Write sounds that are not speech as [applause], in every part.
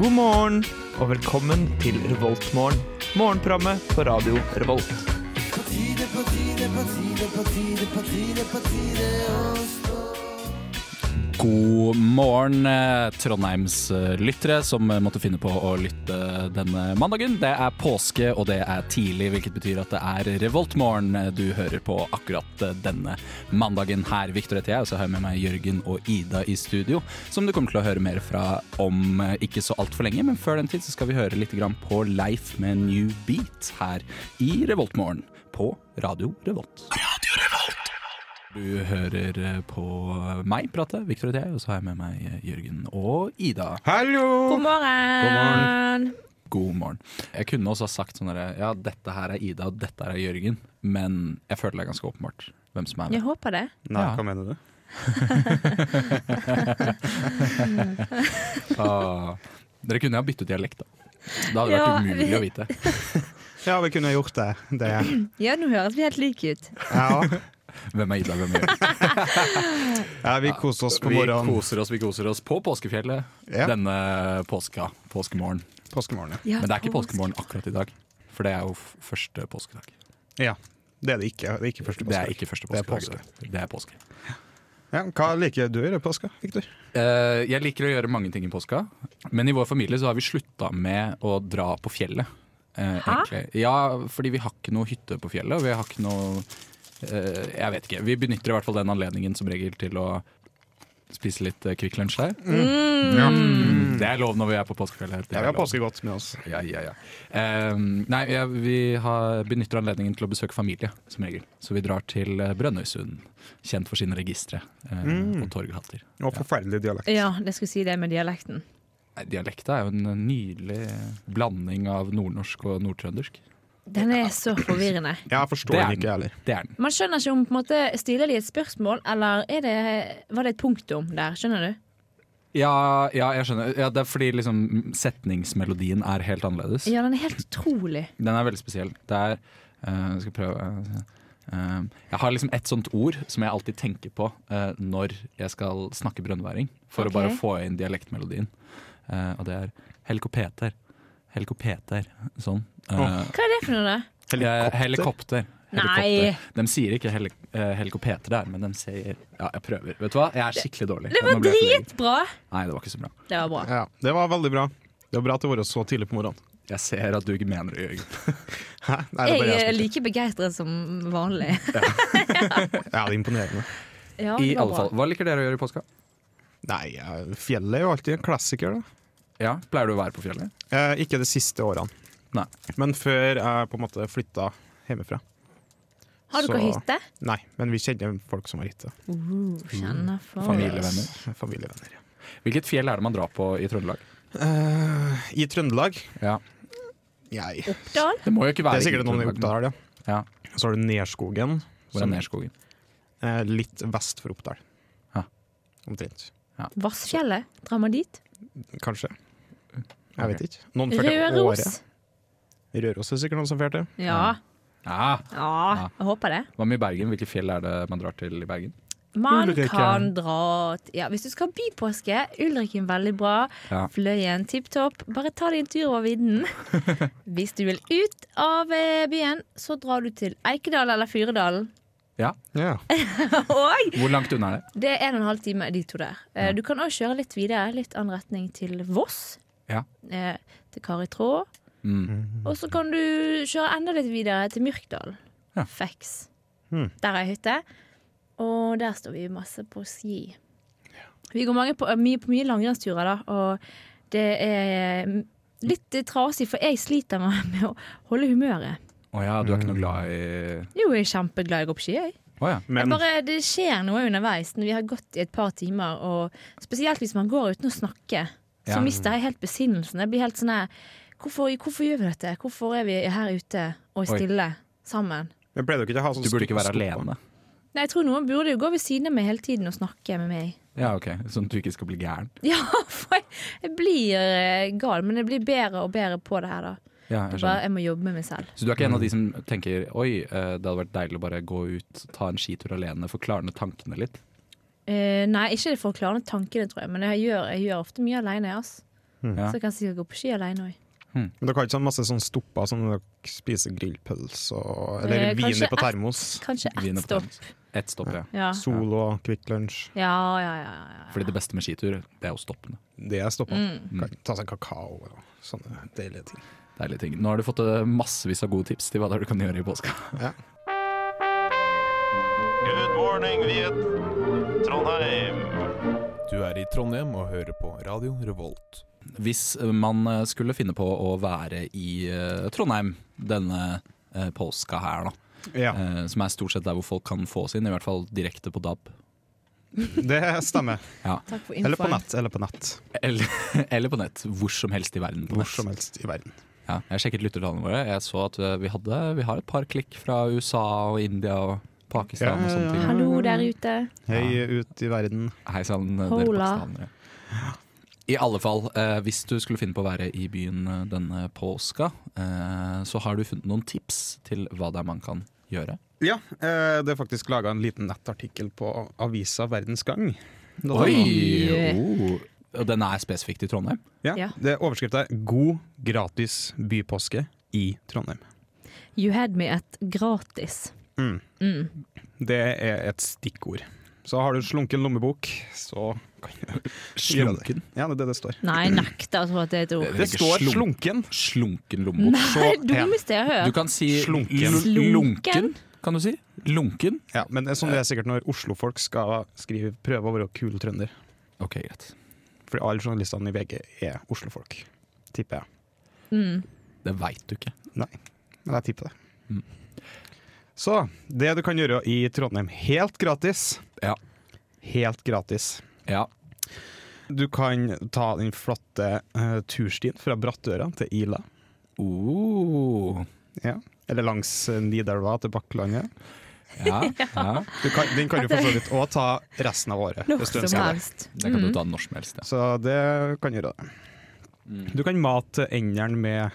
God morgen og velkommen til Revoltmorgen. Morgenprogrammet på radio Revolt. God morgen, eh, Trondheims eh, lyttere som eh, måtte finne på å lytte denne mandagen. Det er påske, og det er tidlig, hvilket betyr at det er Revoltmorgen eh, du hører på akkurat eh, denne mandagen her. Victor heter jeg, og så har jeg med meg Jørgen og Ida i studio, som du kommer til å høre mer fra om eh, ikke så altfor lenge. Men før den tid så skal vi høre litt grann på Leif med New Beat her i Revoltmorgen på Radio Revolt. Du hører eh, på meg prate, Victor og jeg, og så har jeg med meg eh, Jørgen og Ida. God morgen. God Eh, morgen. God morgen. Jeg kunne også ha sagt sånn derre Ja, dette her er Ida, og dette her er Jørgen, men jeg føler det er ganske åpenbart hvem som er Jeg hvem. håper det. Nei, Ja. hva mener du? Ah, Dere kunne ha byttet dialekt, da. Det hadde Ja, vært umulig vi- å vite. Ja, vi kunne gjort det. det. Ja, nå høres vi helt like ut. Ja. Hvem er Ida, hvem er Jørgen? ja, vi koser oss [laughs] på Vi morgenen. koser oss, vi koser oss på påskefjellet Ja. denne påska. Påskemorgen. Påskemorgen. Ja, Men det er ikke påsk. påskemorgen akkurat i dag, for det er jo f- første påskedag. Ja. Det er det ikke. Det er ikke første påske. Det er ikke første Det er påskedag. i dag. Det er påske. Ja, hva liker du i det påska, Victor? Eh, jeg liker å gjøre mange ting i påska, men i vår familie så har vi slutta med å dra på fjellet. eh, Hæ? egentlig. Ja, fordi vi har ikke noe hytte på fjellet, og vi har ikke noe eh, Jeg vet ikke. Vi benytter i hvert fall den anledningen som regel til å spise litt eh, Kvikk Lunsj der. Mm, Det er lov når vi er på påskefjellet. Det Ja, er vi har lov. påskegodt med oss. Ja, ja, ja. Eh, nei, ja, vi har, benytter anledningen til å besøke familie, som regel. Så vi drar til eh, Brønnøysund, kjent for sine registre eh, Mm. og torghatter. Og forferdelig dialekt. Ja, det skulle si det med dialekten. Nei, Dialekta er jo en nydelig blanding av nordnorsk og nordtrøndersk. Den er så forvirrende. Jeg forstår Det er den ikke, jeg heller. Det er den. Man skjønner ikke om på en måte, stiller de et spørsmål, eller er det, var det et punktum der? Skjønner du? Ja, ja jeg skjønner. Ja, det er fordi liksom, setningsmelodien er helt annerledes. Ja, den er helt utrolig. Den er veldig spesiell. Det er eh, Skal jeg prøve eh, Jeg har liksom et sånt ord som jeg alltid tenker på eh, når jeg skal snakke brønnværing, for Ok. å bare få inn dialektmelodien. Eh, og det er helikopeter. Helikopeter. Sånn. Eh, Hva er det for noe, da? Helikopter. helikopter. Nei. De sier ikke helik eh, helikopeter der, men de sier Ja, jeg prøver. Vet du hva, jeg er skikkelig dårlig. Det var Nå ble jeg forvirret. dritbra! Nei, det var ikke så bra. Det var bra. Ja, det var veldig bra. Det var bra at det var så tidlig på morgenen. Jeg ser at du ikke mener det, Jørgen. Hæ? [laughs] Nei, det er Jeg bare jeg er som- like begeistret som vanlig. [laughs] Ja, det er imponerende. Ja, I det var alle bra. fall, Hva liker dere å gjøre i påska? Nei, ja, fjellet er jo alltid en klassiker, da. Ja, Pleier du å være på fjellet? Eh, ikke de siste årene. Nei. Men før jeg på en måte flytta hjemmefra. Har dere Så- hytte? Nei, men vi kjenner folk som har hytte. Uh, kjenner for Mm. Familievenner. Familievenner, ja. Hvilket fjell er det man drar på i Trøndelag? Eh, I Trøndelag Ja. Nei. Dal? Det må jo ikke Det være er sikkert noen i Trøndelag, Oppdal, ja. men- Ja, Så har du Nerskogen, Hvor er Nerskogen? eh, litt vest for Oppdal. Ja. Omtrent. Vassfjellet? Drar man dit? Kanskje. Jeg vet ikke. Noen førte Røros? året. Røros er sikkert noen som førte. Ja. Ja, ja, jeg håper det. Hva med i Bergen? Hvilke fjell er det man drar til i Bergen? Man Ulriken. kan dra t- ja, Hvis du skal ha bypåske, Ulriken veldig bra. Ja. Fløyen tipp topp. Bare ta deg en tur [laughs] over vidden. Hvis du vil ut av eh, byen, så drar du til Eikedal eller Fyredalen. Ja, Ja. Og Hvor langt unna er det? det er en og en halv time, de to der. Eh, Du kan òg kjøre litt videre, litt annen retning, til Voss. Ja. eh, Til Kari Traa. Mm. Og så kan du kjøre enda litt videre til Myrkdalen. Ja. Feks. Hmm. Der er hytte. Og der står vi masse på ski. Vi går mange på, eh, mye på mye langrennsturer, da, og det er eh, litt trasig, for jeg sliter med, [laughs] med å holde humøret. Å ja, du er ikke Mm. noe glad i Jo, jeg er kjempeglad i å gå på ski, jeg. Å ja. Jeg Men Bare, det skjer noe underveis når vi har gått i et par timer, og spesielt hvis man går uten å snakke, så Ja. mister jeg helt besinnelsen. Jeg blir helt sånn her hvorfor, hvorfor gjør vi dette? Hvorfor er vi her ute og Oi. stille sammen? men pleier dere ikke å ha sånn Du burde ikke være stoppa- alene. Nei, jeg tror noen burde jo gå ved siden av meg hele tiden og snakke med meg. [laughs] Ja, ok, Sånn at du ikke skal bli gæren. Ja, for jeg, jeg blir eh, gal, men jeg blir bedre og bedre på det her, da. Ja, jeg skjønner. Jeg, bare, jeg må jobbe med meg selv. Så du er ikke Mm. en av de som tenker Oi, eh, det hadde vært deilig å bare gå ut, ta en skitur alene, få klarne tankene litt? Eh, nei, ikke det for å klare ned tankene, tror jeg, men jeg gjør, jeg gjør ofte mye aleine, ass. Hmm. Ja. Så kan jeg sikkert gå på ski alene òg. Men dere har ikke sånn masse sånn stopper som dere spiser grillpølse og Eller Eh, kanskje wiener på et- termos. Kanskje Vin ett og stopp. potatoes. Ett stopp, ja. Ja. Solo, Kvikk Lunsj. Ja, ja, ja, ja. Fordi det beste med skitur, det er jo stoppene. Det er stoppa. Mm. Kan Ta seg kakao og sånne deilige ting. Deilige ting. Nå har du fått eh, massevis av gode tips til hva det er du kan gjøre i påska. [laughs] Good morning, Viet Trondheim. Du er i Trondheim og hører på Radio Revolt. Hvis eh, man eh, skulle finne på å være i eh, Trondheim denne eh, påska her, da. Ja, Eh, som er stort sett der hvor folk kan få oss inn, i hvert fall direkte på DAB. det stemmer. Takk for Eller på infoen. nett. Eller på nett. Eller, [laughs] eller på nett. Hvor som helst i verden. på Hvor nett. som helst i verden. Ja, jeg sjekket lyttertallene våre. Jeg så at eh, vi, hadde, vi har et par klikk fra USA og India og Pakistan Ja, og ja, sånne ting. ja. Hallo der ute. Hei ut i verden. Hei sann, dere Hola. pakistanere. I alle fall, eh, hvis du skulle finne på å være i byen eh, denne påska, eh, så har du funnet noen tips til hva det er man kan gjøre. Ja, eh, det er faktisk laga en liten nettartikkel på avisa Verdens Gang. Da- Oi! Oh. Og den er spesifikt i Trondheim? Ja, Ja. det er overskrifta 'God gratis bypåske i Trondheim'. You had me at gratis. Mm. Mm. Det er et stikkord. Så har du slunken lommebok, så Slunken, Ja, det er det det står. Nei, nekter å tro at det er et ord. Det Det ligger står slunk- slunken. slunken lommebok. Nei, det dummeste jeg Du har hørt. kan si Slunken. l- lunken, Slunken? kan du si. Lunken. Ja, men det er sånn det er sikkert når oslofolk skal skrive, prøve å være kul trønder. Ok, greit. Fordi alle journalistene i VG er oslofolk, tipper jeg. Mm. Det veit du ikke. Men jeg tipper det. Mm. Så det du kan gjøre i Trondheim helt gratis Ja. Helt gratis. Ja. Du kan ta den flotte eh, turstien fra Brattøra til Ila, Oh. eller langs eh, Nidelva til Bakklandet. [laughs] Ja, ja. Du kan, den kan du for så vidt òg ta resten av året. Når hvis du som ønsker det. helst. Det kan du ta når som helst. Ja. Så det kan gjøre det. Mm. Du kan mate enderen med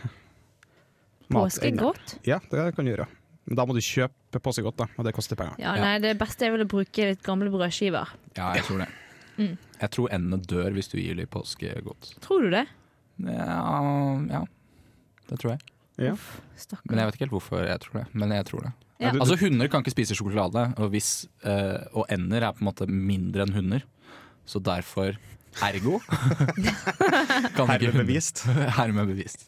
matenderen. Påskegodt? Ja, det kan du gjøre. Men da må du kjøpe påskegodt, da, og det koster penger. Ja, nei, det beste er vel å bruke litt gamle brødskiver. Ja, jeg tror det. Mm. Jeg tror endene dør hvis du gir dem påskegodt. Tror du det? Ja, ja, det tror jeg. Men jeg Stakkar. vet ikke helt hvorfor jeg tror det. Men jeg tror det. Ja. Du, du, Altså, hunder kan ikke spise sjokolade, og, hvis, eh, og ender er på en måte mindre enn hunder. Så derfor ergo [laughs] kan ikke Hermed hunder- [laughs] bevist. Hermed bevist.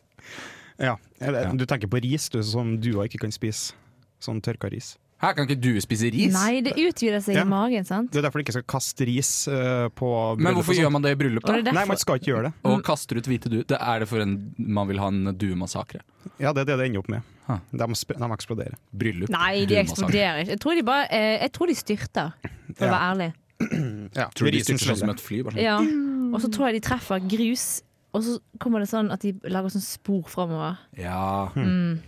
ja. Eller, Ja. du tenker på ris du, som du òg ikke kan spise. Sånn tørka ris. Her kan ikke du spise ris! Nei, det utvider seg Ja. i magen, sant? Det er derfor du ikke skal kaste ris eh, på Men hvorfor gjør man det i bryllup, Og da? det er Nei, man derfor skal ikke gjøre det. Og kaster ut hvite duer? Det Er det for en man vil ha en duemassakre? Ja, det er det det ender opp med. Ha. De, sp- de eksploderer. Bryllup? Nei, de duemassakre. eksploderer ikke. Jeg tror de bare eh, Jeg tror de styrter, for å Ja. være ærlig. Ja, Tror du de risen styrter sånn som smeller. et fly? Bare sånn. Ja. Og så tror jeg de treffer grus, og så kommer det sånn at de lager sånn spor framover. Ja. Mm. Hmm.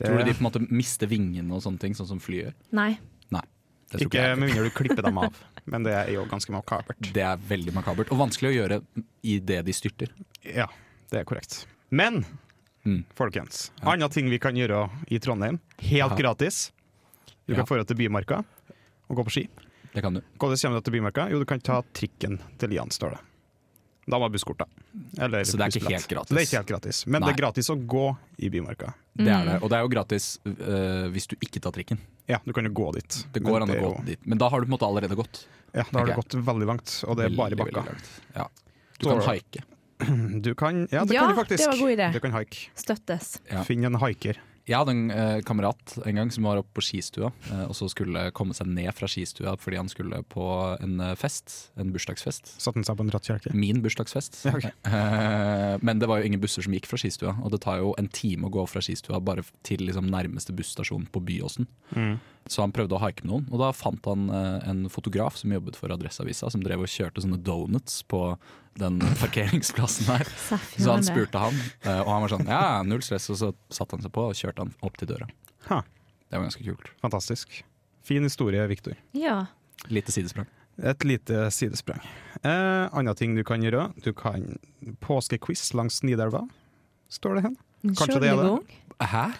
Det- Tror du de på en måte mister vingene og sånne ting, sånn som fly gjør? Nei. Det, tror Ikke jeg. [laughs] med mindre du klipper dem av, men det er jo ganske makabert. det er veldig makabert, og vanskelig å gjøre i det de styrter. Ja, det er korrekt. Men Mm. folkens, andre ting vi kan gjøre i Trondheim, helt Ja. gratis. Du Ja. kan få deg til Bymarka og gå på ski. Det kan du. Hvordan kommer du til Bymarka? Jo, du kan ta trikken til Lian, står det. Da må du ha busskort, da. Eller Så det er ikke bussbillett. helt gratis. Så det er ikke helt gratis. Men det Nei. er gratis å gå i Bymarka. Det Mm. er det. Og det er jo gratis øh, hvis du ikke tar trikken. Ja, du kan jo gå dit. Det Men går an å er gå jo- dit, men da har du på en måte allerede gått. Ja, da har du Ok. gått veldig langt, og det er bare Veldig, bakka. veldig langt. Ja. Du kan Så- haike. [clears throat] Du kan, ja, det Ja, kan du faktisk. det var god idé. Du kan haike. Støttes. Ja. Finn en haiker. Jeg hadde en eh, kamerat en gang som var oppe på skistua, eh, og så skulle komme seg ned fra skistua fordi han skulle på en eh, fest, en bursdagsfest. Satte han seg på en rattkjelke. Min bursdagsfest. Ja, ok. Eh, men det var jo ingen busser som gikk fra skistua, og det tar jo en time å gå fra skistua bare til liksom, nærmeste busstasjon på Byåsen. Så han prøvde å haike med noen, og da fant han eh, en fotograf som jobbet for Adresseavisa, som drev og kjørte sånne donuts på den parkeringsplassen der. Seff, Så han gjør det. spurte han, eh, og han var sånn ja, null stress, og så satte han seg på og kjørte han opp til døra. Ha, Det var ganske kult. fantastisk. Fin historie, Viktor. Ja. Lite sidesprang. Et lite sidesprang. Eh, Andre ting du kan gjøre, du kan påskequiz langs Nidelva, står det hen. Kanskje det er det. Kjølebong? Hæ?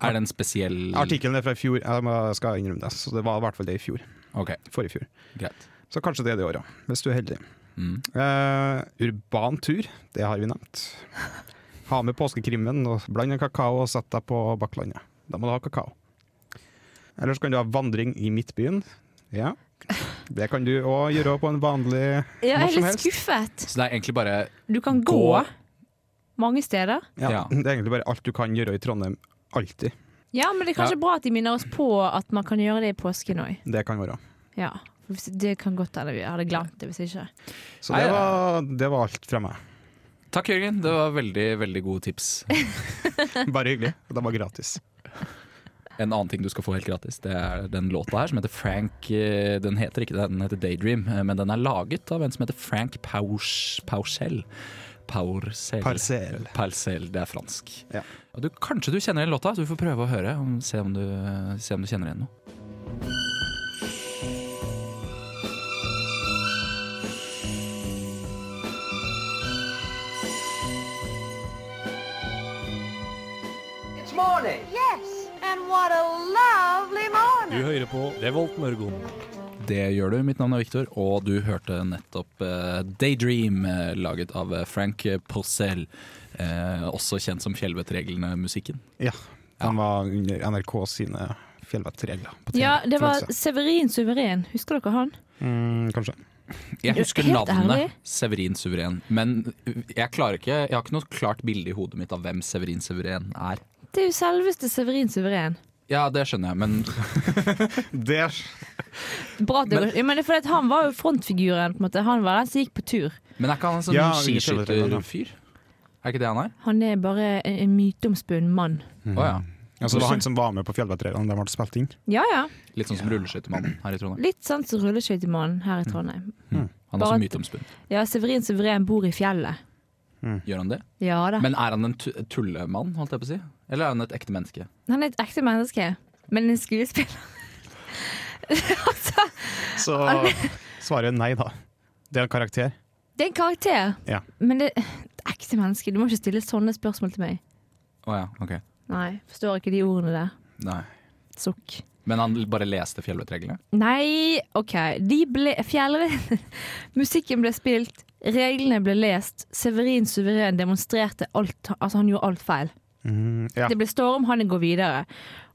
Er det en spesiell Artikkelen er fra i fjor, jeg må- skal innrømme det, så det var i hvert fall det i fjor. Ok, Forrige fjor. greit. Så kanskje det er det i år, ja. Hvis du er heldig. Mm. Eh, urban tur, det har vi nevnt. Ha med påskekrimmen og bland en kakao og sett deg på Bakklandet. Da må du ha kakao. Eller så kan du ha vandring i Midtbyen. Ja. Det kan du òg gjøre på en vanlig Ja, jeg Når er som litt helst. skuffet. Så det er egentlig bare Du kan gå, Gå. mange steder. ja, Ja. Det er egentlig bare alt du kan gjøre i Trondheim. Alltid. Ja, men det er kanskje bra at de minner oss på at man kan gjøre det i påsken òg. Det kan være. Ja. for hvis- Det kan godt hende vi hadde glemt det hvis ikke. Så det Nei, var, det var alt fra meg. Takk, Jørgen. Det var veldig, veldig gode tips. Bare hyggelig. Det var gratis. En annen ting du skal få helt gratis, det er den låta her som heter Frank eh, Den heter ikke det, den heter Daydream, eh, men den er laget av en som heter Frank Pausch- Pauschel. Paursel. Parsel. Parcel, det er fransk. Ja. Og du, kanskje du kjenner igjen låta, så du får prøve å høre. Om, se, om du, se om du kjenner igjen noe. It's morning. Yes, and what a lovely morning. hører på Revolt Mørgon. Det gjør du. Mitt navn er Victor, og du hørte nettopp eh, Daydream, eh, laget av eh, Frank Porcel. Eh, også kjent som Fjellvettreglene-musikken. Ja. Den var under NRK sine fjellvettregler. på TV, Ja, det for var å si. Severin Suveren. Husker dere han? mm, Kanskje. Jeg husker Helt navnet ærlig? Severin Suveren, men jeg klarer ikke Jeg har ikke noe klart bilde i hodet mitt av hvem Severin Suveren er. Det er jo selveste Severin Suveren. Ja, det skjønner jeg, men Det Bra at det går. Ja, men det er fordi at han var jo frontfiguren. på en måte Han var den som gikk på tur. Men er ikke han en sånn Ja, skiskytterfyr? Er ikke det han er? Han er bare en, en myteomspunnen mann. Å ja. Ja, så Altså, det var han som var med på Fjellvettreglene, de ble spilt inn. Ja ja. Litt sånn som rulleskøytemannen her i Trondheim. Litt sånn som rulleskøytemannen her i Trondheim. Han er Bare også at- myteomspunnet. Ja, Severin Suveren bor i fjellet. Gjør han det? Ja da. Men er han en tu- tullemann, holdt jeg på å si? Eller er han et ekte menneske? Han er et ekte menneske, men en skuespiller. [laughs] Så svaret er nei, da. Det er en karakter. Det er en karakter, Ja. men det et ekte menneske. Du må ikke stille sånne spørsmål til meg. Å ja, ok. Nei, forstår ikke de ordene der. Nei. Sukk. Men han bare leste fjellvettreglene? Nei, OK. De ble fjell... [laughs] Musikken ble spilt, reglene ble lest. Severin Suveren demonstrerte alt. Altså, han gjorde alt feil. Mm, ja. Det ble storm, han går videre.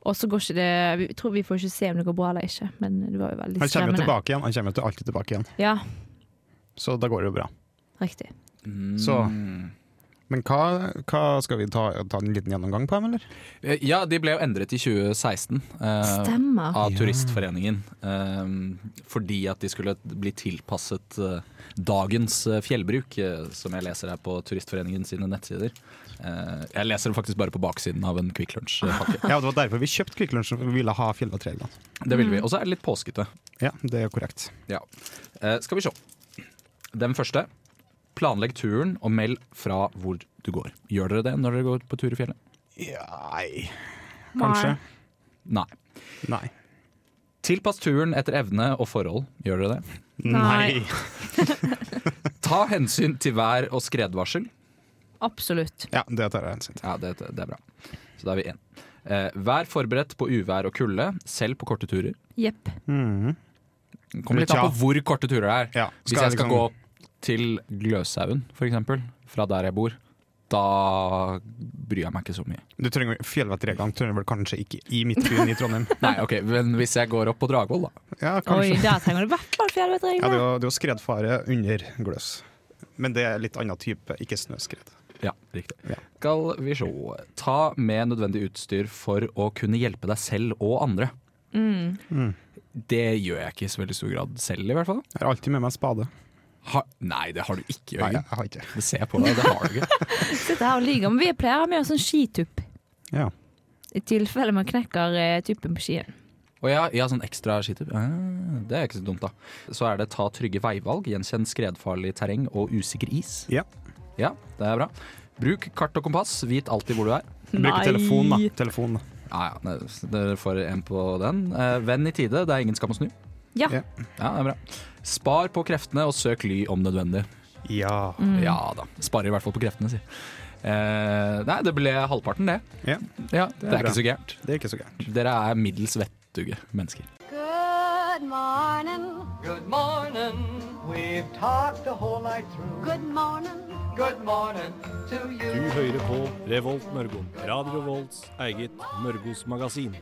Og så går ikke det Vi tror vi får ikke se om det går bra eller ikke, men det var jo veldig Han kommer jo skremmende. tilbake igjen, han kommer jo til- alltid tilbake igjen, Ja, så da går det jo bra. riktig. Så- Mm. Men hva, hva skal vi ta, ta en liten gjennomgang på, eller? Eh, Ja, de ble jo endret i 2016. eh, ah. Stemmer. Av Turistforeningen. eh, fordi at de skulle bli tilpasset eh, dagens eh, fjellbruk, eh, som jeg leser her på Turistforeningen sine nettsider. Eh, jeg leser det faktisk bare på baksiden av en Kvikk Lunsj-pakke. Ja, Det var derfor vi kjøpte Kvikk Lunsj, for vi ville ha Fjellvettreglene. Det vil vi. Og så er det litt påskete. Ja, det er korrekt. Ja. Eh, skal vi se. Den første. Planlegg turen og meld fra hvor du går. Gjør dere det når dere går på tur i fjellet? Nei Kanskje. Nei. Nei. Tilpass turen etter evne og forhold. Gjør dere det? Nei. Ta hensyn til vær- og skredvarsel. Absolutt. Ja, det tar jeg hensyn til. Ja, det, det er bra. Så da er vi én. Eh, vær forberedt på uvær og kulde, selv på korte turer. Jepp. Mm. Kommer litt an på hvor korte turer det er. Ja, liksom- Hvis jeg skal gå til Gløshaugen, f.eks., fra der jeg bor, da bryr jeg meg ikke så mye. Du trenger Fjellvettreglene trenger vel kanskje ikke i midtbyen i [laughs] Trondheim? Nei, ok, Men hvis jeg går opp på Dragvoll, da. Ja, Oi, kanskje. der trenger du i hvert fall Ja, det er fjellvettregler. jo- det er jo skredfare under gløs. Men det er litt annen type, ikke snøskred. Ja, riktig. Ja. Skal vi se. Ta med nødvendig utstyr for å kunne hjelpe deg selv og andre. Mm. Det gjør jeg ikke i så veldig stor grad selv, i hvert fall. Jeg har alltid med meg spade. Ha, nei, det har du ikke, Nei, jeg Jørgen. har ikke. Det ser jeg på deg, det har du ikke. Sitter her og lyver. Men vi pleier å ha med oss en skitupp. Ja. I tilfelle man knekker eh, tuppen på skien. Og ja, ja sånn ekstra skitup. Ah, det er ikke så dumt, da. Så er det ta trygge veivalg, gjenkjenn skredfarlig terreng og usikker is. Ja. Ja, det er bra. Bruk kart og kompass, vit alltid hvor du er. Bruke Nei. telefon, da. Telefon, da. Ja, ja, det- dere får en på den. Eh, Vend i tide, det er ingen skam å snu. Ja. Ja. Ja, det er bra. Spar på kreftene og søk ly om nødvendig. Ja. Mm. Ja da. Sparer i hvert fall på kreftene, si. Eh, nei, det ble halvparten, det. ja. Ja, Det er, bra. ikke så gærent. Det er ikke så gærent. Dere er middels vettuge mennesker. Good morning. Good morning. We've talked the whole night through. Good morning. Good morning to Du you. hører på Revolt Mørgon. Radio Revolts eget Mørgos magasin.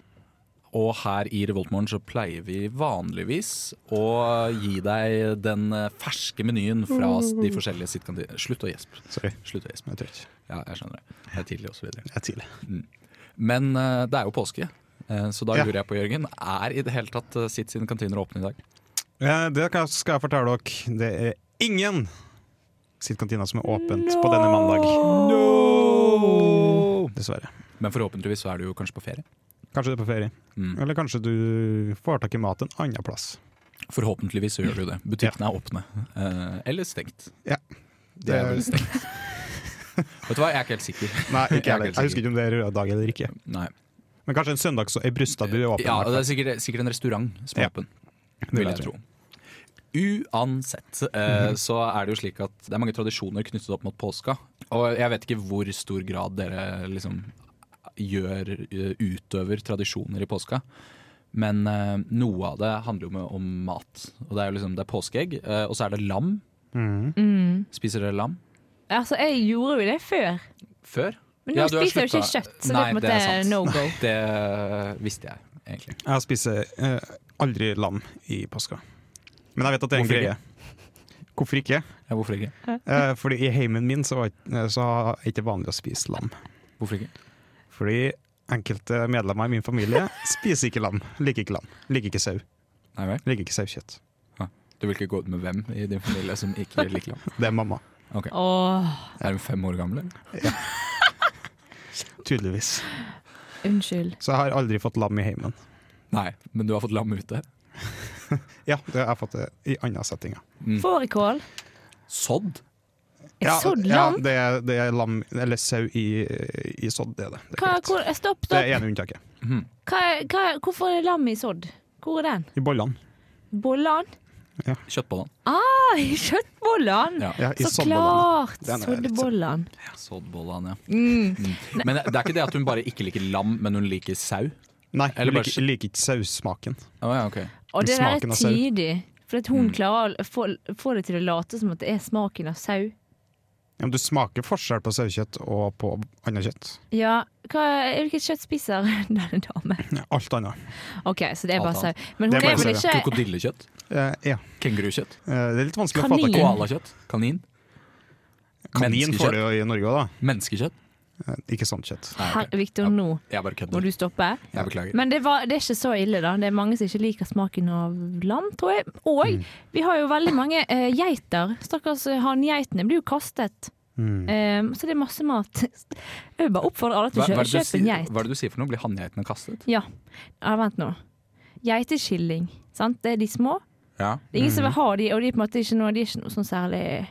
Og her i Revoltmorgen så pleier vi vanligvis å gi deg den ferske menyen fra de forskjellige sitkantinene. Slutt å gjespe. Sorry. Slutt å gjespe. Jeg tror ikke. Ja, jeg skjønner det. Det er tidlig og så videre. Jeg tviler. Men eh, det er jo påske, eh, så da Ja. lurer jeg på, Jørgen, er i det hele tatt eh, sitt sine kantiner åpne i dag? Eh, Det kan- skal jeg fortelle dere. Det er ingen sittkantina som er åpent på denne mandag. Dessverre. Men forhåpentligvis så er du jo kanskje på ferie? Kanskje du er på ferie. Mm. Eller kanskje du får tak i mat en annen plass. Forhåpentligvis så gjør du det. Butikkene er åpne. eh, eller stengt. Ja. Det er vel stengt. Vet du hva, jeg er ikke helt sikker. [laughs] Nei, [laughs] ikke Jeg er jeg heller. ikke helt Jeg husker ikke om det er rød dag eller ikke. Nei. Men kanskje en søndag så er Brustadbu åpen. Ja, i det hvert fall. er sikkert, sikkert en restaurant som er Ja, åpen, vil vil jeg Mhm. jeg tro. Uansett eh, så er det jo slik at det er mange tradisjoner knyttet opp mot påska. Og jeg vet ikke hvor stor grad dere liksom gjør, eh, utøver tradisjoner i påska. Men eh, noe av det handler jo med, om mat. Og det er jo liksom, det er påskeegg, eh, og så er det lam. Spiser dere lam? Mm. Altså, jeg gjorde jo det før. Før? Men nå du har spiser jeg jo ikke sluttet. kjøtt, så det er Nei, på en det er måte sant. no go. Det visste jeg, egentlig. Jeg spiser eh, aldri lam i påska. Men jeg vet at det er en Hvorfor greie. Hvorfor ikke? Ja, hvorfor ikke? Eh, fordi i heimen min så, var, ikke- eh, så er det ikke vanlig å spise lam. Hvorfor ikke? Fordi enkelte medlemmer i min familie spiser ikke lam. Liker ikke lam. Liker ikke sau. Nei vel? Liker ikke saukjøtt. Du vil ikke gå ut med hvem i din familie som ikke liker lam? Det er mamma. Åh, Er hun fem år gammel? eller? Tydeligvis. unnskyld. Så jeg har aldri fått lam i heimen. Nei, men du har fått lam ute. Ja, det har jeg fått det i andre settinger. Fårikål? Sådd? Er Mm. Ja, sådd ja, lam? det, er, det er lam, eller sau i, i sådd, det er det. Det er, Hva, korrekt. hvor, eh, stopp, det er stopp. ene unntaket. Hva, hva, hvorfor er lam i sodd? Hvor er den? I bollene. Bollan? Kjøttbollene. Ah, i kjøttbollan! Ja. Ja, i Så soddbollene. klart! Den er litt Soddebollan. Soddbollene, ja. Mm. Men det er ikke det at hun bare ikke liker lam, men hun liker sau? Nei, Eller jeg bare liker, liker ikke saussmaken. Å ja, ok. Og det der Smaken er av sau. tidig. For at Mm. hun klarer å få, få det til å late som at det er smaken av sau. Ja, men du smaker forskjell på sauekjøtt og på annet kjøtt. Ja, hva, hvilket kjøtt spiser [laughs] denne damen? Ja, Alt annet. OK, så det er Alt bare annet. sau. Men hun Det er er, bare vel sau, ikke Krokodillekjøtt? Eh, ja. Kengurukjøtt? Eh, det er litt vanskelig å Kanin. få tak i. Koalakjøtt? Kanin? Kanin får du Menneskekjøtt? jo i Norge òg, da. Menneskekjøtt? Eh, Ikke sånt kjøtt. Nei, Her- ok. Victor, nå Jeg bare må kødder. du stoppe. Jeg beklager. Men det, var, det er ikke så ille, da. Det er mange som ikke liker smaken av lam, tror jeg. Og Mm. vi har jo veldig mange eh, geiter. Stakkars eh, hanngeitene blir jo kastet. Eh, så det er masse mat. [laughs] Jeg vil bare oppfordrer alle til å Mm. Hva, hva, kjø er det du kjøpe en sier, geit. hva er det du sier for noe? Blir hanngeitene kastet? Ja, ja vent nå. Geiteskilling. Sant? Det er de små. Ja. Det er ingen Mhm. som vil ha de, og de er på en måte ikke noe, de er ikke noe sånn særlig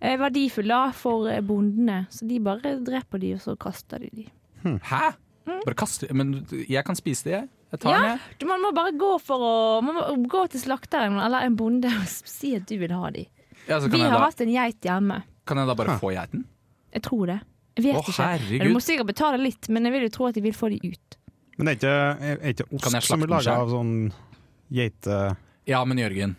eh, verdifulle da, for eh, bondene. Så de bare dreper de, og så kaster de de. Hæ? Bare kaste Men jeg kan spise det, jeg. Jeg tar Mm. Ja, den, jeg. du, man må bare gå for å man må gå til slakteren eller en bonde og si at du vil ha de. Ja, så Vi kan, jeg har da, hatt en geit hjemme. kan jeg da bare få geiten? Jeg tror det. Jeg vet Å, ikke. herregud. Men Du må sikkert betale litt, men jeg vil jo tro at de vil få de ut. Men det er ikke, er ikke Kan jeg ost som slakte er den laga selv? av sånn geite... Ja, men Jørgen.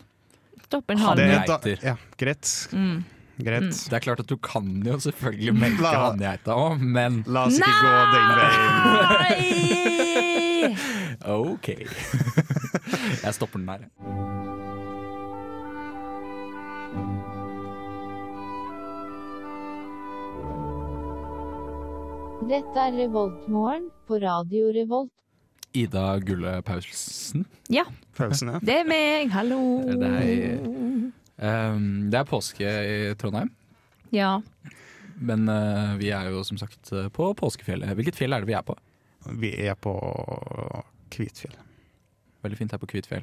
Stopp en Ha halv. Det det. er da, Geiter. ja, greit. Mm. Greit. Det er klart at du kan jo selvfølgelig melke La- hanngeita òg, men La oss ikke gå den veien. [laughs] Nei! OK. [laughs] Jeg stopper den der. Dette er Revoltmorgen på Radio Revolt. Ida Gulle Paulsen. Ja, Følelsen, ja. det er meg. Hallo. Det er, ehm, det er påske i Trondheim, Ja. men eh, vi er jo som sagt eh, på påskefjellet. Hvilket fjell er det vi er på? Vi er på Kvitfjell. Veldig fint her på Kvitfjell.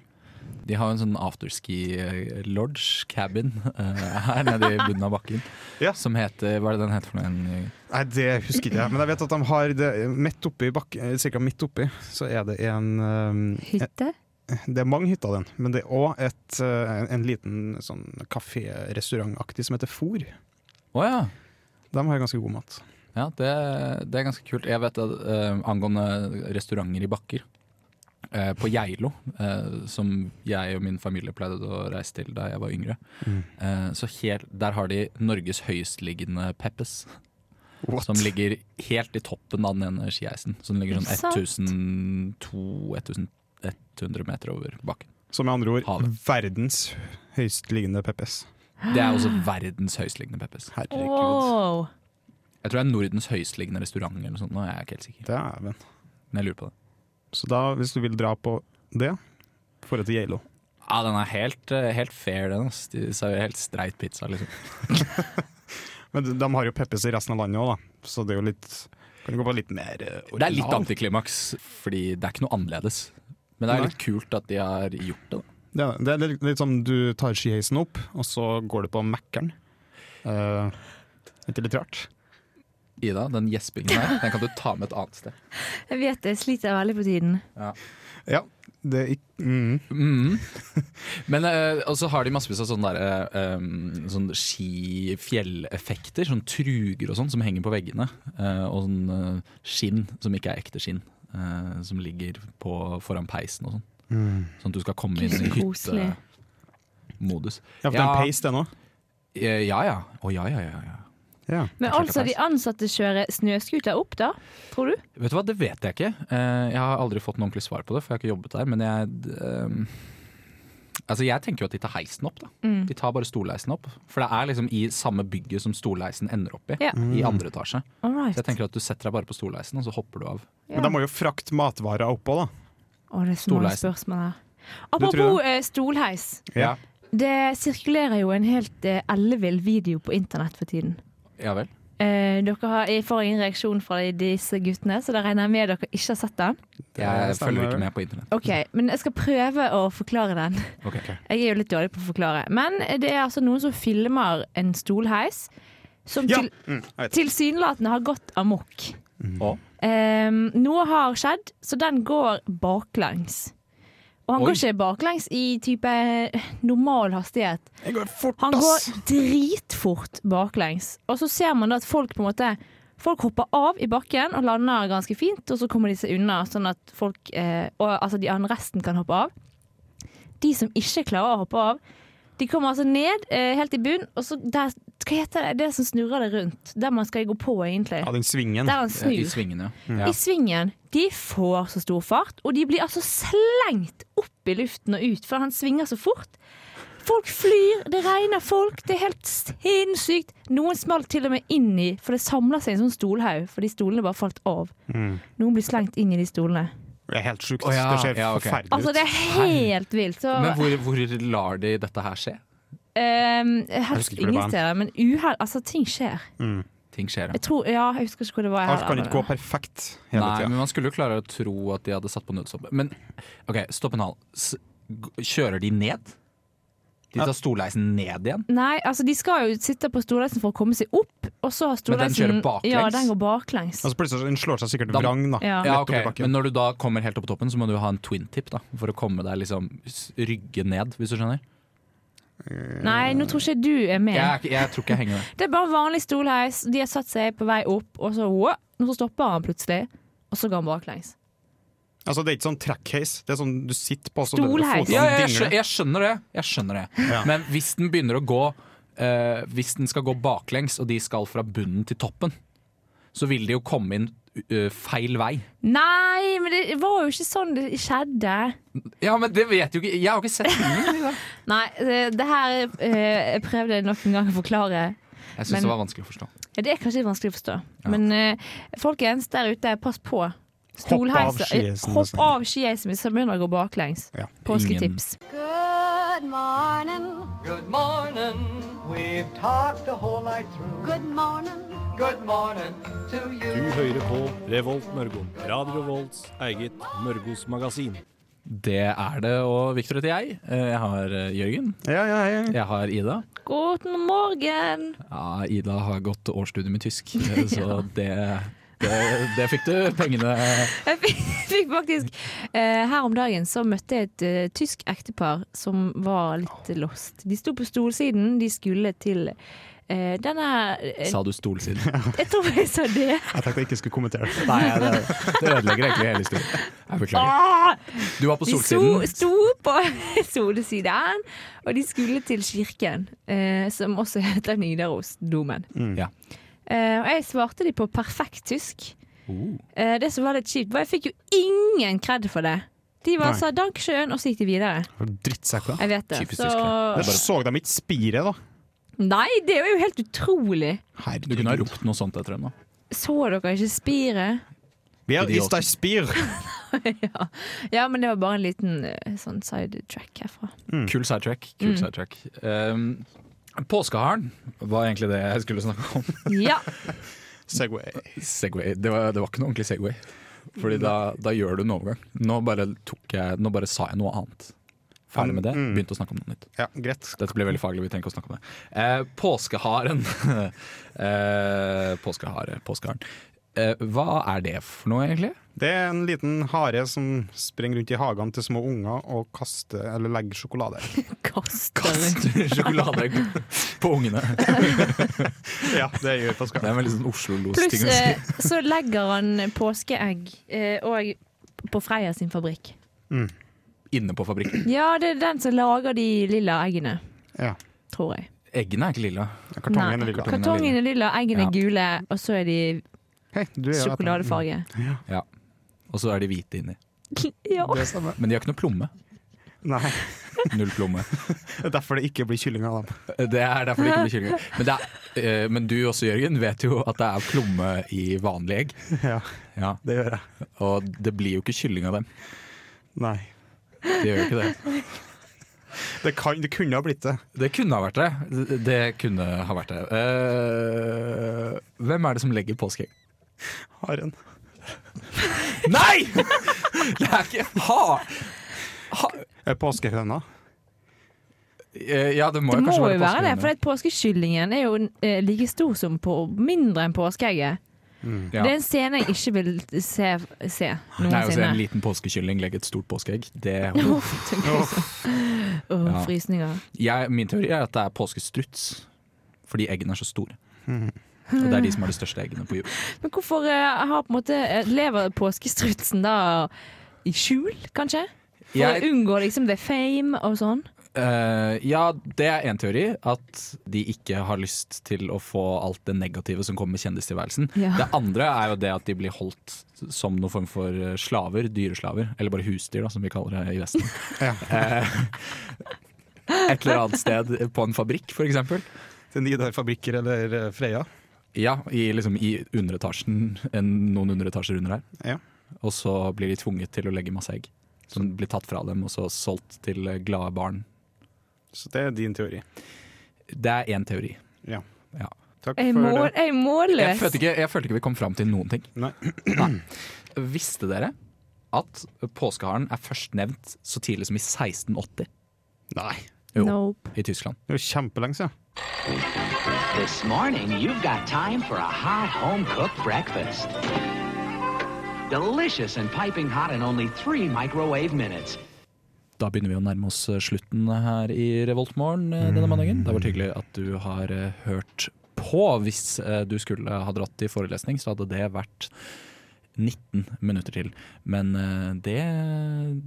De har jo en sånn afterski-lodge, cabin, [laughs] eh, her nede i bunnen av bakken. Ja. Som heter Hva er det den heter for noe? En- eh, Nei, det husker ikke jeg, men jeg vet at de har det midt oppi bakken, cirka midt oppi, så er det en um, Hytte? Det er mange hytter, den, men det er òg et, uh, en liten sånn kafé-restaurantaktig som heter For. Å ja. De har ganske god mat. Ja, det, det er ganske kult. Jeg vet at eh, angående restauranter i bakker, eh, på Geilo, eh, som jeg og min familie pleide å reise til da jeg var yngre. Mm. Eh, så helt, der har de Norges høyestliggende Peppes, What? som ligger helt i toppen av den ene skieisen. Så den ligger Er det sånn 1200-1100 meter over bakken. Så med andre ord, Havet. verdens høyestliggende Peppes. Det er også verdens høyestliggende Peppes. Herregud. Wow. Jeg tror det er Nordens høyestliggende restaurant eller noe sånt. Nå er jeg ikke helt sikker, Dæven. men jeg lurer på det. Så da, hvis du vil dra på det, dra til Geilo. Ja, den er helt, eh, helt fair, den. ass. De serverer helt streit pizza, liksom. Men de, de har jo Peppes i resten av landet òg, da. Så det er jo litt Kan du gå på litt mer eh, original? Det er litt antiklimaks, fordi det er ikke noe annerledes. Men det er litt kult at de har gjort det. da. Det er, det er litt, litt som du tar skiheisen opp, og så går du på Mækkern. Uh, ikke litt rart? Ida, den gjespingen her, den kan du ta med et annet sted. Jeg vet det, jeg sliter veldig på tiden. Ja. Det er ikke mm. Mhm. [laughs] Men eh, Og så har de massevis av sånne, der, eh, um, sånne skifjelleffekter, sånne truger og sånn, som henger på veggene. eh, og sånn eh, skinn som ikke er ekte skinn, eh, som ligger på, foran peisen og sånn. Sånn at du skal komme inn i Gud, så koselig. hyttemodus. Ja, for det er Ja. en pace, det nå. Eh, Ja ja. Å ja, ja, ja. ja. Ja. Men klart altså, det de er ansatte kjører snøscooter opp, da? Tror du? Vet du hva, det vet jeg ikke. Eh, Jeg har aldri fått noe ordentlig svar på det, for jeg har ikke jobbet der. Men jeg eh, Altså, jeg tenker jo at de tar heisen opp, da. Mm. De tar bare storleisen opp. For det er liksom i samme bygget som storleisen ender opp i. Ja. I andre etasje. All Mm. Så jeg right. tenker at du setter deg bare på storleisen, og så hopper du av. Men da må jo frakte matvarer opp òg, da. Å, det er så mange Stolheisen. spørsmål her. tror Apropos eh, stolheis. Ja. Det sirkulerer jo en helt eh, ellevill video på internett for tiden. Ja vel. Eh, dere har, jeg får ingen reaksjon fra disse guttene, så da regner jeg med dere ikke har sett den. Jeg stemmer. følger ikke med på internett. Ok, Men jeg skal prøve å forklare den. Ok. Jeg er jo litt dårlig på å forklare. Men det er altså noen som filmer en stolheis som Ja. til, Mm, jeg vet. tilsynelatende har gått amok. Og Ehm, noe har skjedd, så den går baklengs. Og han Oi. går ikke baklengs i type normal hastighet. Jeg går fort, Han ass! går dritfort baklengs. Og så ser man da at folk på en måte Folk hopper av i bakken og lander ganske fint, og så kommer de seg unna, sånn at folk eh, og, Altså de andre resten kan hoppe av. De som ikke klarer å hoppe av, de kommer altså ned eh, helt i bunn, og så der Hva heter det? Det som snurrer det rundt. Der man skal gå på, egentlig. Ja, den svingen. Der ja, han Eh, I snur. svingene, ja. I svingen. De får så stor fart, og de blir altså slengt opp i luften og ut, for han svinger så fort. Folk flyr, det regner folk, det er helt sinnssykt. Noen smalt til og med inn i, for det samla seg en sånn stolhaug, for de stolene bare falt av. Mm. Noen blir slengt inn i de stolene. Det er helt sjukt. Å, ja, Det ser ja, ok. forferdelig ut. Altså, det er helt vilt. Så Ja. Men hvor, hvor lar de dette her skje? ehm, husker helst ikke hvor det ingen var. steder, men uhell Altså, ting skjer. Ting skjer. ja. Jeg tror Ja, jeg husker ikke hvor det var. Alt kan heller, ikke gå perfekt hele Nei, tida. men man skulle jo klare å tro at de hadde satt på nødstoppet. Men ok, stopp en hal. S- g- Kjører de ned? De tar storleisen ned igjen? Nei, altså de skal jo sitte på storleisen for å komme seg opp, og så har Men den storleisen kjører baklengs? Ja, den går baklengs. Altså, plutselig så- den slår seg sikkert Da- vrang, da. Ja, Ja. Rett opp i ok, bakken. Men når du da kommer helt opp på toppen, så må du ha en twin tip da for å komme deg liksom s- rygge ned, hvis du skjønner? Nei, nå tror ikke du er med. Jeg, er ikke- jeg tror ikke jeg henger med. Det er bare vanlig stolheis. De har satt seg på vei opp, og så, wow, og så stopper han plutselig. Og så går han baklengs. Altså, det er ikke sånn trackheis. Det er sånn du sitter på så Stolheis. [laughs] fotene Ja, ja, jeg, dingler. skjø- jeg skjønner det. Sånn Jeg skjønner det. Ja. Men hvis den begynner å gå eh, Hvis den skal gå baklengs, og de skal fra bunnen til toppen, så vil de jo komme inn eh, feil vei. Nei, men det var jo ikke sånn det skjedde. Ja, men det vet jo ikke Jeg har ikke sett den. Ida. Nei, det, det her eh, jeg prøvde jeg nok en gang å forklare. Jeg Men- syns det var vanskelig å forstå. Ja, det er kanskje litt vanskelig å forstå. Men eh, folkens der ute, pass på. Hopp av skiheisen, Hopp altså. av skiheisen hvis han begynner å gå baklengs. Ja. Påsketips. Good morning. Good morning. We've talked the whole night through. Good morning. Good morning to you. Du hører på Revolt Mørgo. Radio Revolts eget Mørgos magasin. Det er det, og Victor heter jeg. Eh, Jeg har eh, Jørgen. Ja, ja, ja. Jeg har Ida. God morgen! Ja, Ida har gått årsstudium i tysk, eh, så det, det, det fikk du pengene Jeg fikk, fikk faktisk eh, Her om dagen så møtte jeg et eh, tysk ektepar som var litt lost. De sto på stolsiden, de skulle til eh, denne eh, Sa du stolsiden? Jeg tror jeg sa det. Jeg tenkte jeg ikke skulle kommentere det. Nei, det, det ødelegger egentlig hele historien. Jeg beklager. Ah! Du var på De sto, solsiden. sto på [laughs] solsiden, og de skulle til kirken, eh, som også heter Nidarosdomen. Ja. Eh, og jeg svarte de på perfekt tysk. Eh, det som var litt kjipt, var jeg fikk jo ingen kred for det. De Nei. bare sa 'dank sjøen', og så gikk de videre. Drittsekker. Jeg vet det. Typisk så tyskere. Der så de ikke spiret, da. Nei, det er jo helt utrolig. Du kunne ha ropt noe sånt etter henne. Så dere ikke spiret? [laughs] Vi er Idiot. ist ein Spier! Ja, men det var bare en liten eh, sånn sidetrack [laughs] herfra. Kul sidetrack. Kul sidetrack. Um, Påskeharen var egentlig det jeg skulle snakke om. [laughs] Ja. Segway. Segway. Det var, det var ikke noe ordentlig Segway. Fordi da, da gjør du en overgang. Nå bare, tok jeg, nå bare sa jeg noe annet. Ferdig med det. Mm. Begynte å snakke om noe nytt. Ja, greit. Dette ble veldig faglig, vi trenger ikke å snakke om det. Eh, påskeharen. [laughs] eh, påskehare, påskeharen. Eh, hva er det for noe, egentlig? Det er en liten hare som springer rundt i hagene til små unger og kaster eller legger sjokolade. [laughs] Kaster. Kaster sjokolade på ungene. ja, det gjør Det Pascal. er en veldig sånn Oslo-los-ting Pluss å si. eh, så legger han påskeegg eh, og på Freia sin fabrikk. Inne på fabrikken. Ja, det er den som lager de lilla eggene, Ja. tror jeg. Eggene er ikke lilla. Kartongen er Nei, lilla. Kartongen er lilla, eggene Ja. er gule, og så er de Hei, du er jo et- sjokoladefarge. Og så er de hvite inni. Ja. Det er samme. Men de har ikke noe plomme. Nei, Null plomme. det er derfor det ikke blir kylling av dem. Det er derfor det ikke blir kylling. Men, det er, eh, men du også, Jørgen, vet jo at det er plomme i vanlige egg. Ja, [laughs] Ja, det gjør jeg. og det blir jo ikke kylling av dem. Nei. Det gjør jo ikke det. Det, kan, det kunne ha blitt det. Det kunne ha vært det. Det- Det kunne ha vært det. Eh, hvem er det som legger påskeegg? Haren. Nei! Det er ikke ha! Eh, Påskehøna. Eh, Ja, det må Det jo må kanskje jo være, være det, påskehøne. for det påskekyllingen er jo eh, like stor som på mindre enn påskeegget. Ja. Det er en scene jeg ikke vil se, Nei, se å se en noensinne. [laughs] liten påskekylling legge et stort påskeegg, det Uff, tenk altså. Åh, Ja. frysninger. jeg, Min teori er at det er påskestruts, fordi eggene er så store. Og det er de som har de største eggene på jord. Men hvorfor eh, har på en måte eh, lever påskestrutsen da i skjul, kanskje? [laughs] For Jeg- å unngå liksom the fame og sånn? Eh, ja, det er en teori. At de ikke har lyst til å få alt det negative som kommer med kjendistilværelsen. Ja. Det andre er jo det at de blir holdt som noen form for eh, slaver. Dyreslaver. Eller bare husdyr, da, som vi kaller det i Vesten. [laughs] Ja. Eh, et eller annet sted på en fabrikk, f.eks. Til Nidar Fabrikker eller eh, Freia. Ja, i, liksom, i underetasjen. En, noen underetasjer under her. Ja. Og så blir de tvunget til å legge masse egg. Som blir tatt fra dem og så solgt til eh, glade barn. Så det er din teori. Det er én teori. Ja. Ja. Takk Jeg er for mål- jeg det. er Jeg målløs! følte, ikke, jeg følte ikke vi kom fram til noen ting. Nei. [clears throat] Visste dere at påskeharen er først nevnt så tidlig som i 1680 Nei. Jo. Nope. i Tyskland? Det er jo kjempelenge siden. This morning, you've got time for a hot home cooked breakfast. Delicious and piping hot in only three microwave minutes. Da begynner vi å nærme oss eh, slutten her i Revoltmorgen eh, Mm. denne mandagen. Det har vært hyggelig at du har eh, hørt på. Hvis eh, du skulle ha dratt i forelesning, så hadde det vært 19 minutter til. Men eh, det,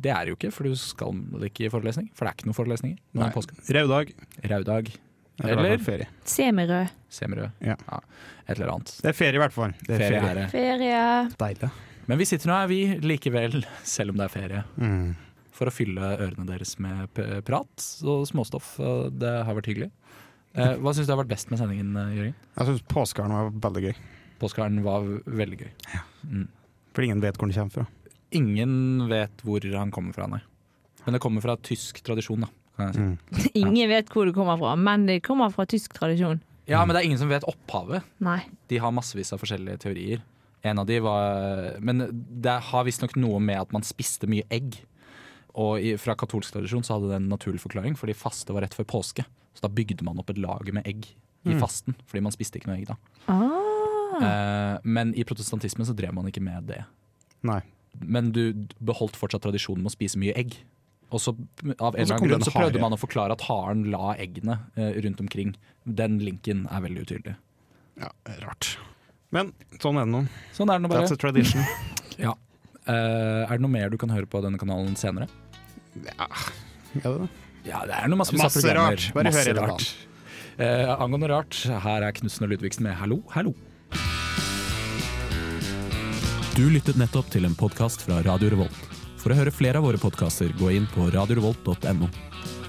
det er det jo ikke, for du skal ikke i forelesning. For det er ikke noen forelesninger. Det Nei. er påske. Raudag. Raudag. Eller i hvert fall Eller ferie. Semirød. semirød. Ja. Et eller annet. Det er ferie, i hvert fall. Det er Ferie ferie. er det. Ferie. Deilig. Men vi sitter nå her, vi, likevel, selv om det er ferie, Mm. for å fylle ørene deres med p- prat og småstoff. og Det har vært hyggelig. Eh, Hva syns du har vært best med sendingen, eh, Jørgen? Jeg syns påskeharen var veldig gøy. Påskeharen var v- veldig gøy. For ingen vet hvor den kommer fra. Ingen vet hvor han kommer fra, nei. Men det kommer fra tysk tradisjon, da. Kan jeg si. Mm. Ingen vet hvor det kommer fra, men det kommer fra tysk tradisjon. Ja, men det er ingen som vet opphavet. Nei. De har massevis av forskjellige teorier. En av de var Men det har visstnok noe med at man spiste mye egg. Og i, fra katolsk tradisjon så hadde det en naturlig forklaring, fordi faste var rett før påske. Så da bygde man opp et lager med egg i fasten, fordi man spiste ikke noe egg da. Ah. Eh, men i protestantismen så drev man ikke med det. Nei. Men du beholdt fortsatt tradisjonen med å spise mye egg. Og så av en Og så eller annen kom det grunn en så prøvde hare. man å forklare at haren la eggene eh, rundt omkring. Den linken er veldig utydelig. Ja, rart. Men sånn er det nå. Sånn er det nå That's bare. a [laughs] tradition. Ja. Eh, er det noe mer du kan høre på denne kanalen senere? Er det det? Ja, det er noe massevis av Masse programmer. rart. Bare Masse hør i det. rart. Eh, angående rart, her er Knutsen og Ludvigsen med Hallo, hallo. Du lyttet nettopp til en podkast fra Radio Revolt. For å høre flere av våre podkaster, gå inn på radiorevolt.no.